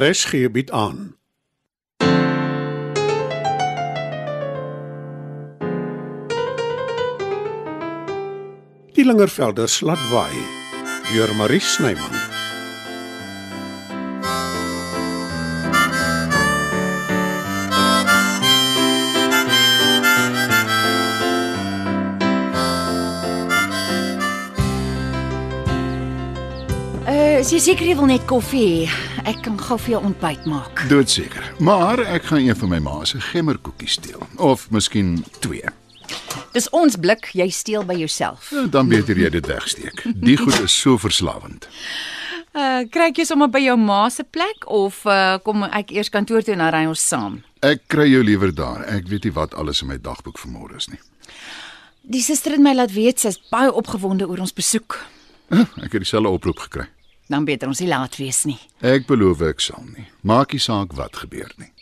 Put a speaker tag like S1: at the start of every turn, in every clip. S1: RSG bied aan. Die Lingervelder slatwaai deur Marie Snyman.
S2: Uh, jy seker jy wil net koffie hê. Ek kan gou vir jou ontbyt maak.
S3: Doodseker. Maar ek gaan een van my ma se gemmerkoekies steel of miskien twee.
S2: Dis ons blik, jy steel by jouself.
S3: Nou, Dan beter jy dit wegsteek. Die goed is so verslawend.
S2: Uh, kry ek jou sommer by jou ma se plek of uh, kom ek eers kantoor toe en dan ry ons saam?
S3: Ek kry jou liewer daar. Ek weet nie wat alles in my dagboek vanmôre is nie.
S2: Die suster het my laat weet sy's baie opgewonde oor ons besoek.
S3: Huh, Ek het dieselfde oproep gekry.
S2: Dan beter ons nie laat wees nie.
S3: Ek beloof ek sal nie. Maak nie saak wat gebeur nie.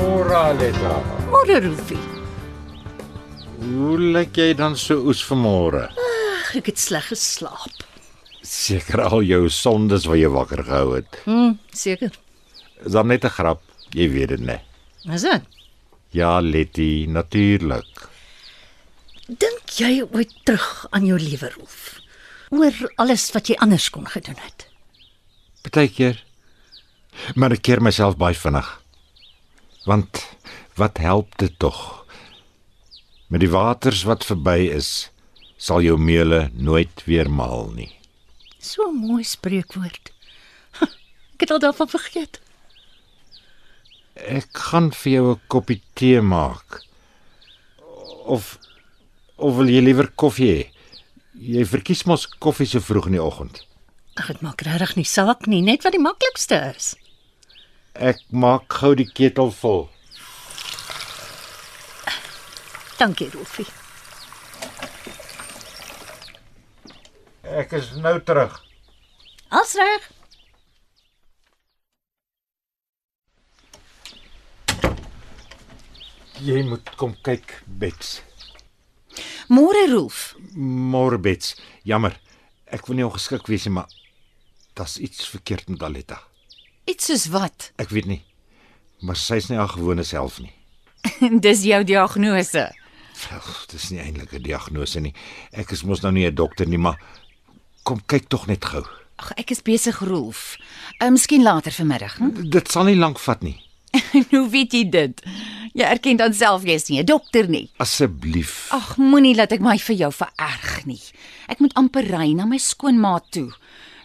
S4: Ora Letta.
S2: Môre Rolfie.
S4: Hoe lyk jy dan so oes vanmôre?
S5: Ek het sleg geslaap.
S4: Seker al jou sondes wat jy wakker gehou het.
S5: Hm, seker.
S4: Is dan net 'n grap, jy weet dit nê.
S5: Is dit?
S4: Ja, Letty, natuurlik.
S5: Dink jy ooit terug aan jou lewe, Rolf? Oor alles wat jy anders kon gedoen het.
S4: Partykeer. Maar ek keer myself baie vinnig. Want wat help dit tog? Met die waters wat verby is, sal jou meule nooit weer maal nie.
S5: So 'n mooi spreekwoord. Ha, Ek het al daarvan vergeet.
S4: Ek gaan vir jou 'n koppie tee maak. Of of wil jy liewer koffie hê? Jy verkies mos koffie so vroeg in die oggend.
S5: Ag, dit maak regtig nie saak nie, net wat die maklikste is.
S4: Ek maak gou die ketel vol.
S5: Dankie, Rolfie.
S4: Ek is nou terug.
S5: As reg.
S4: Jy moet kom kyk, Bets.
S2: Môre Rolf.
S4: Môre Bets. Jammer. Ek wil nie ongeskik wees nie, maar daar's iets verkeerd met Aletta.
S2: Iets soos wat?
S4: Ek weet nie. Maar sy's nie haar gewone self nie.
S2: Dis jou diagnose.
S4: Ag, dis nie eintlik 'n diagnose nie. Ek is mos nou nie 'n dokter nie, maar kom kyk tog net gou.
S2: Ag, ek is besig Rolf. Uh, miskien later vanmiddag. Hm?
S4: D- Dit sal nie lank vat nie.
S2: Hoe weet jy dit? Jy erken dan self jy's nie 'n dokter nie.
S4: Asseblief.
S2: Ag, moenie laat ek my vir jou vererg nie. Ek moet amper ry na my skoonma toe.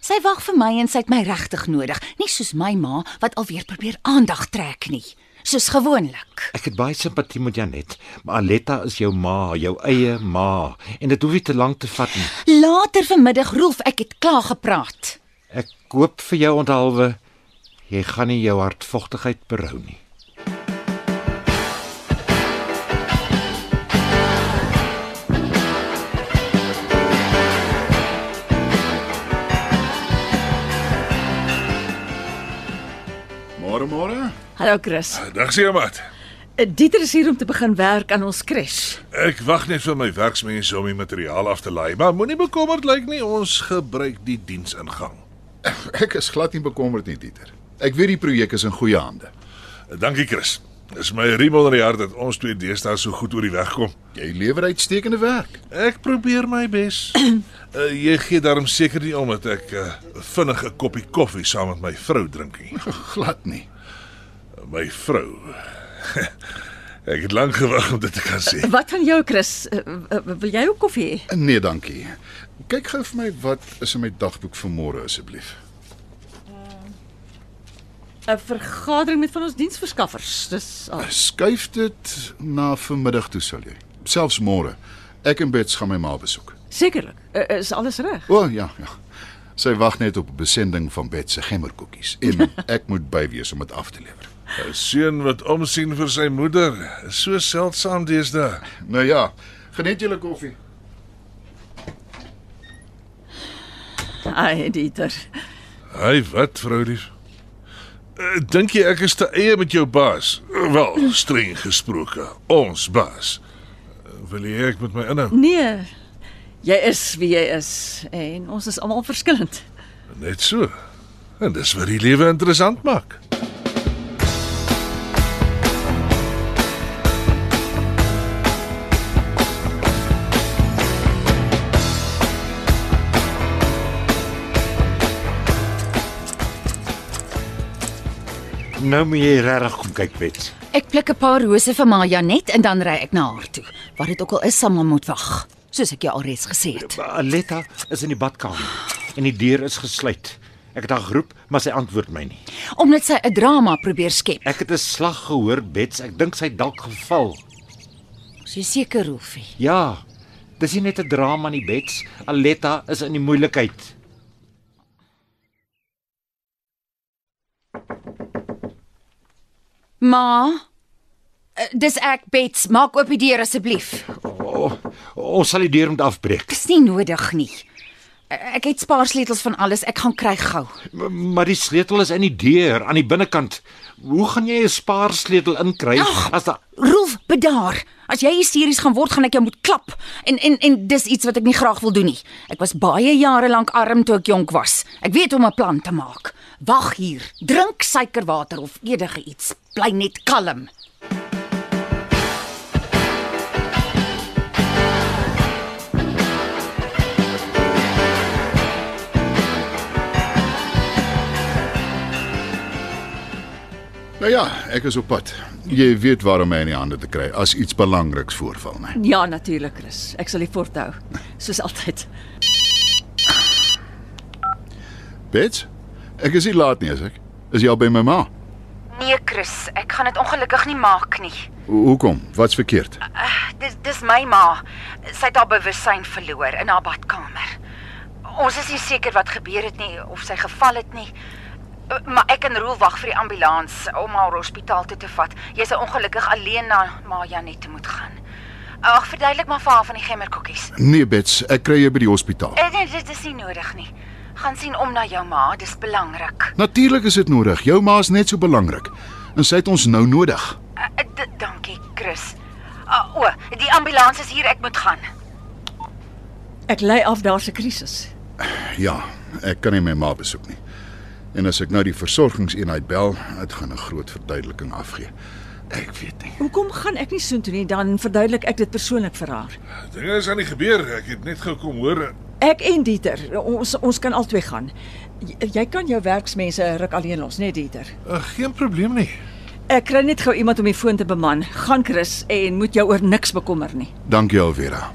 S2: Sy wag vir my en sy het my regtig nodig, nie soos my ma wat alweer probeer aandag trek nie, soos gewoonlik.
S4: Ek het baie simpatie met Janet, maar Aletta is jou ma, jou eie ma, en dit hoef nie te lank te vat nie.
S2: Later vanmiddag roep ek het klaar gepraat.
S4: Ek koop vir jou onthaalwe jy gaan nie jou hartvogtigheid berou nie.
S3: Môre môre.
S6: Hallo Chris. Eh,
S7: Dag Seemat.
S6: Dieter is hier om te begin werk aan ons crash.
S7: Ek wag net vir my werksmense om die materiaal af te laai, maar moenie bekommerd lyk nie, ons gebruik die diensingang.
S3: Ek is glad nie bekommerd nie, Dieter. Ek weet die projek is in goeie hande.
S7: Dankie Chris. Dis my riem onder die hart dat ons twee deesdae so goed oor die weg kom.
S3: Jy lewer uitstekende werk.
S7: Ek probeer my bes. uh, jy gee daarom seker nie om dat ek uh, vinnig 'n koppie koffie saam met my vrou drink nie.
S3: Glad nie.
S7: My vrou. ek het lank gewag om dit te kan sê.
S6: Wat van jou Chris? Eh, eh, Wil jy ook koffie hê?
S3: Nee, dankie. Kyk gou vir my wat is in my dagboek vanmôre asseblief.
S6: 'n Vergadering met van ons diensverskaffers. Dis al.
S3: Skuif dit na vanmiddag toe sal jy. Selfs môre. Ek en Bets gaan my ma besoek.
S6: Sekerlik. Eh, Is alles reg?
S3: O oh, ja, ja. Sy wag net op 'n besending van Bets se gemmerkoekies en ek moet by wees om dit af te lewer.
S7: 'n Seun wat omsien vir sy moeder is so seldsaam deesdae.
S3: Nou ja, geniet julle koffie.
S6: Ai, Dieter.
S7: Hy wat vrou lief. Eh, Dink jy ek is te eie met jou baas? Eh, Wel, streng gesproke, ons baas. Eh, Wil jy ek met my inhou?
S6: Nee. Jy is wie jy is en ons is almal verskillend.
S7: Net so. En dis wat die lewe interessant maak.
S4: Nou moet jy regtig kom kyk, Bets.
S2: Ek pluk 'n paar rose vir Ma Janet en dan ry ek na haar toe. Wat dit ook al is, Samma moet wag, soos ek jou alreeds gesê het.
S4: Aletta is in die badkamer en die deur is gesluit. Ek het haar geroep, maar sy antwoord my nie.
S2: Omdat sy 'n drama probeer skep.
S4: Ek het 'n slag gehoor, Bets. Ek dink sy het dalk geval.
S2: Sy seker Rolfie.
S4: Ja. Dis nie net 'n drama in die Bets. Aletta is in die moeilikheid.
S2: Ma, eh, dis ek Bets, maak oop die deur asseblief.
S4: O, ons sal die deur moet afbreek.
S2: Dis nie nodig nie. Eh, Ek het spaarsleutels van alles, ek gaan kry gou.
S4: M- Maar die sleutel is in die deur aan die binnekant. Hoe gaan jy 'n spaarsleutel inkry
S2: Ag.
S4: as da
S2: Rolf, bedaar. As jy hysteries gaan word, gaan ek jou moet klap. En en en dis iets wat ek nie graag wil doen nie. Ek was baie jare lank arm toe ek jonk was. Ek weet hoe om 'n plan te maak. Wag hier. Drink suikerwater of enige iets. Bly net kalm.
S3: Nou ja, ek is op pad. Jy weet waar om my in die hande te kry as iets belangriks voorval, né?
S6: Ja, natuurlik, Chris. Ek sal dit voorthou, soos altyd.
S3: Bets, ek is nie laat nie, is ek? Is jy al by my ma?
S2: Nee, Chris, ek gaan dit ongelukkig nie maak nie.
S3: Ho- Hoekom? Wat's verkeerd?
S2: Dis dis my ma. Sy het haar bewussyn verloor in haar badkamer. Ons is nie seker wat gebeur het nie of sy geval het nie. Maar ek en Roel wag vir die ambulans om haar hospitaal toe te vat. Jy sal ongelukkig alleen na Ma Janet toe moet gaan. Ag, verduidelik maar vir haar van die gemmerkoekies.
S3: Nee, Bets, ek kry jou by die hospitaal.
S2: Eh, Nee, dit is nie nodig nie. Gaan sien om na jou ma, dis belangrik.
S3: Natuurlik is dit nodig. Jou ma is net so belangrik en sy het ons nou nodig.
S2: Eh, eh, d- Dankie, Chris. Ah, O, die ambulans is hier, ek moet gaan.
S6: Ek lei af daar se krisis.
S3: Ja, ek kan nie my ma besoek nie. En as ek nou die versorgingseenheid bel, dit gaan 'n groot verduideliking afgee. Ek weet nie.
S6: Hoekom gaan ek nie soontoe nie? Dan verduidelik ek dit persoonlik vir haar.
S7: Dinge is aan die gebeur. Ek het net gou kom hoor.
S6: Ek en Dieter, ons ons kan albei gaan. Jy, jy kan jou werksmense ruk alleen los, net Dieter.
S7: Uh, geen probleem nie.
S6: Ek kry net gou iemand om die foon te beman. Gaan Chris en moet jou oor niks bekommer nie.
S3: Dankie Alvera.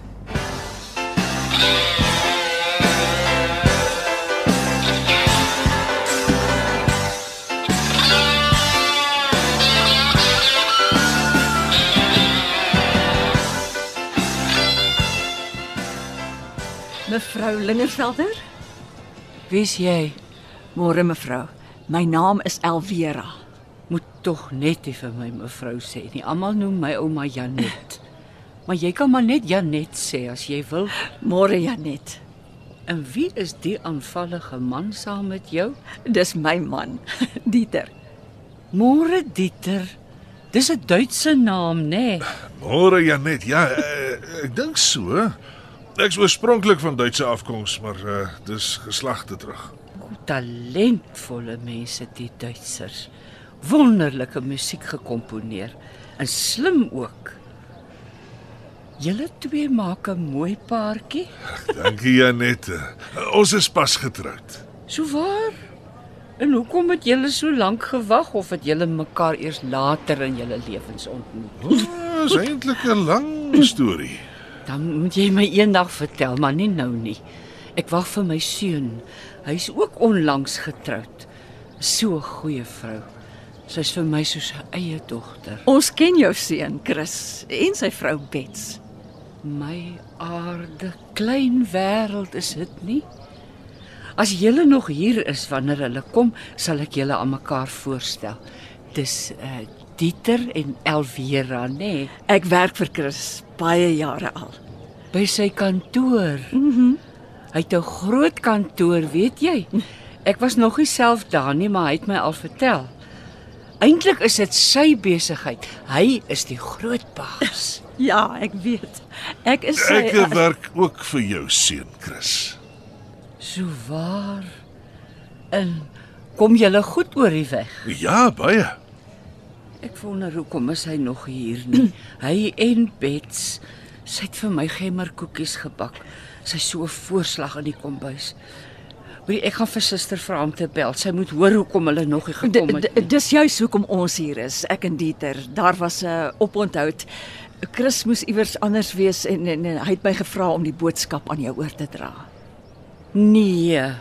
S6: Mevrou Lingervelder? Wie's jy? Môre mevrou. My naam is Elvera.
S8: Moet tog net nie vir my mevrou sê nie. Almal noem my ouma Janet. maar jy kan maar net Janet sê as jy wil.
S6: Môre Janet.
S8: En wie is die aanvallige man saam met jou?
S6: Dis my man, Dieter.
S8: Môre Dieter. Dis 'n Duitse naam, nê? Nee.
S7: Môre Janet. Ja, eh, ek dink so. Ek's oorspronklik van Duitse afkoms, maar uh, dis geslagte terug.
S8: Talentvolle mense die Duitsers. Wonderlike musiek gekomponeer en slim ook. Julle twee maak 'n mooi paartjie.
S7: Dankie Janet. Eh, Ons is pas getroud.
S8: So waar? En hoekom het julle so lank gewag of het julle mekaar eers later in julle lewens ontmoet?
S7: Dit is eintlik 'n lang storie.
S8: Dan moet jy my eendag vertel, maar nie nou nie. Ek wag vir my seun. Hy's ook onlangs getroud. So 'n goeie vrou. Sy's vir my soos sy eie dogter.
S6: Ons ken jou seun, Chris, en sy vrou Bets.
S8: My aarde, klein wêreld is dit nie? As julle nog hier is wanneer hulle kom, sal ek julle aan mekaar voorstel. Dis eh uh, Dieter en Elvira, nê, nee,
S6: Ek werk vir Chris baie jare al.
S8: by sy kantoor. Mhm. Mm hy het 'n groot kantoor, weet jy? Ek was nog nie self daar nie, maar hy het my al vertel. Eintlik is dit sy besigheid. Hy is die groot baas.
S6: Ja, ek weet. Ek is
S7: Ek eh, werk ook vir jou seun, Chris.
S8: So waar. En kom julle goed oor die weg?
S7: Ja, baie.
S8: Ek wonder hoekom is hy nog hier nie. hy en Bets. Sy het vir my gemmerkoekies gebak. Sy so 'n voorslag in die kombuis. Wie ek gaan vir suster vra om te bel. Sy moet hoor hoekom hulle nog nie
S6: D-
S8: gekom het
S6: d-
S8: nie.
S6: Dis juis hoekom ons hier is, ek en Dieter. Daar was 'n oponthoud. Chris moes iewers anders wees en, en, en hy het my gevra om die boodskap aan jou oor te dra.
S8: Nee.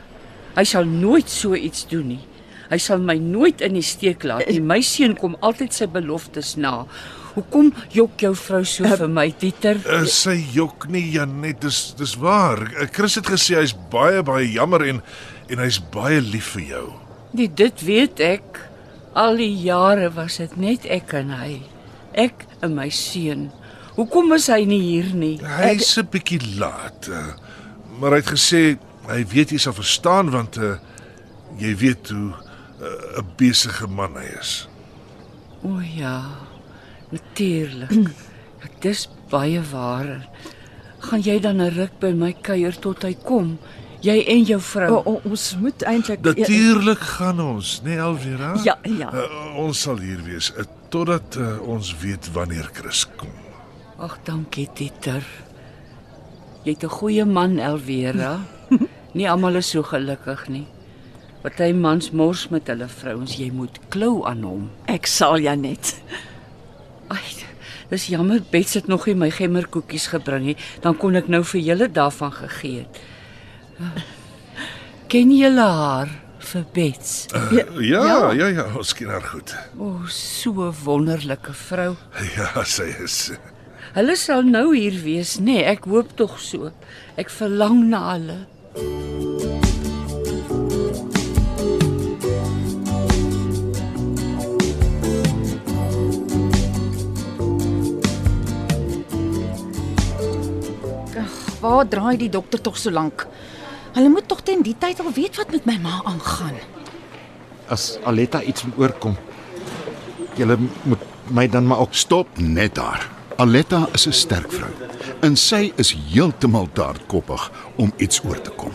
S8: Hy sal nooit so iets doen nie. Hy sal my nooit in die steek laat nie. My seun kom altyd sy beloftes na. Hoekom jok jou vrou so vir my, Dieter?
S7: Uh, sy jok nie Janet, dis dis waar. Eh, Chris het gesê hy's baie baie jammer en en hy's baie lief vir jou.
S8: Nee, dit weet ek. Al die jare was dit net ek en hy. Ek en my seun. Hoekom is hy nie hier nie?
S7: Hy's 'n bietjie laat. eh, Maar hy het gesê hy weet jy sal verstaan want uh, jy weet hoe eh, 'n besige man hy is.
S8: O ja. Natuurlik. Ek dis baie waar. Gaan jy dan 'n ruk by my kuier tot hy kom? Jy en jou vrou.
S6: O, o, ons moet e- eintlik
S7: Natuurlik gaan ons, né nee, Alvera?
S6: Ja, ja.
S7: Eh, ons sal hier wees uh, totdat uh, ons weet wanneer Chris kom.
S8: Ag, dankie Dieter. Jy het 'n goeie man, Elvera. nie almal is so gelukkig nie. Party mans mors met hulle vrouens, jy moet klou aan hom.
S6: Ek sal jou net.
S8: Ai, dis jammer Bets het nog nie my gemmerkoekies gebring nie. Dan kon ek nou vir julle daarvan gegee het. Ken julle haar vir Bets?
S7: Ja, ja, ja, ja, ons ken haar goed.
S8: O, oh, so wonderlike vrou.
S7: Ja, sy is.
S8: Hulle sal nou hier wees, nê? Nee, ek hoop tog so. Ek verlang na hulle.
S2: Waar draai die dokter tog so lank? Hulle moet tog teen die tyd al weet wat met my ma aangaan.
S4: As Aletta iets moet oorkom, jy moet my dan maar ook
S3: Stop net daar. Aletta is 'n sterk vrou en sy is heeltemal te hardkoppig om iets oor te kom.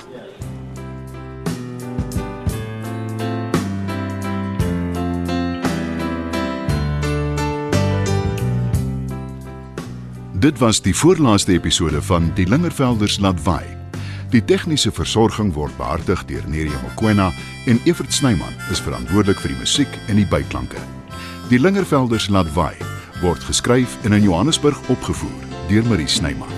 S3: Dit was die voorlaaste episode van Die Lingervelders laat waai. Die tegniese versorging word behartig deur Neriya Mkwena en Evert Snyman is verantwoordelik vir die musiek en die byklanke. Die Lingervelders laat waai word geskryf en in Johannesburg opgevoer deur Marie Snyman.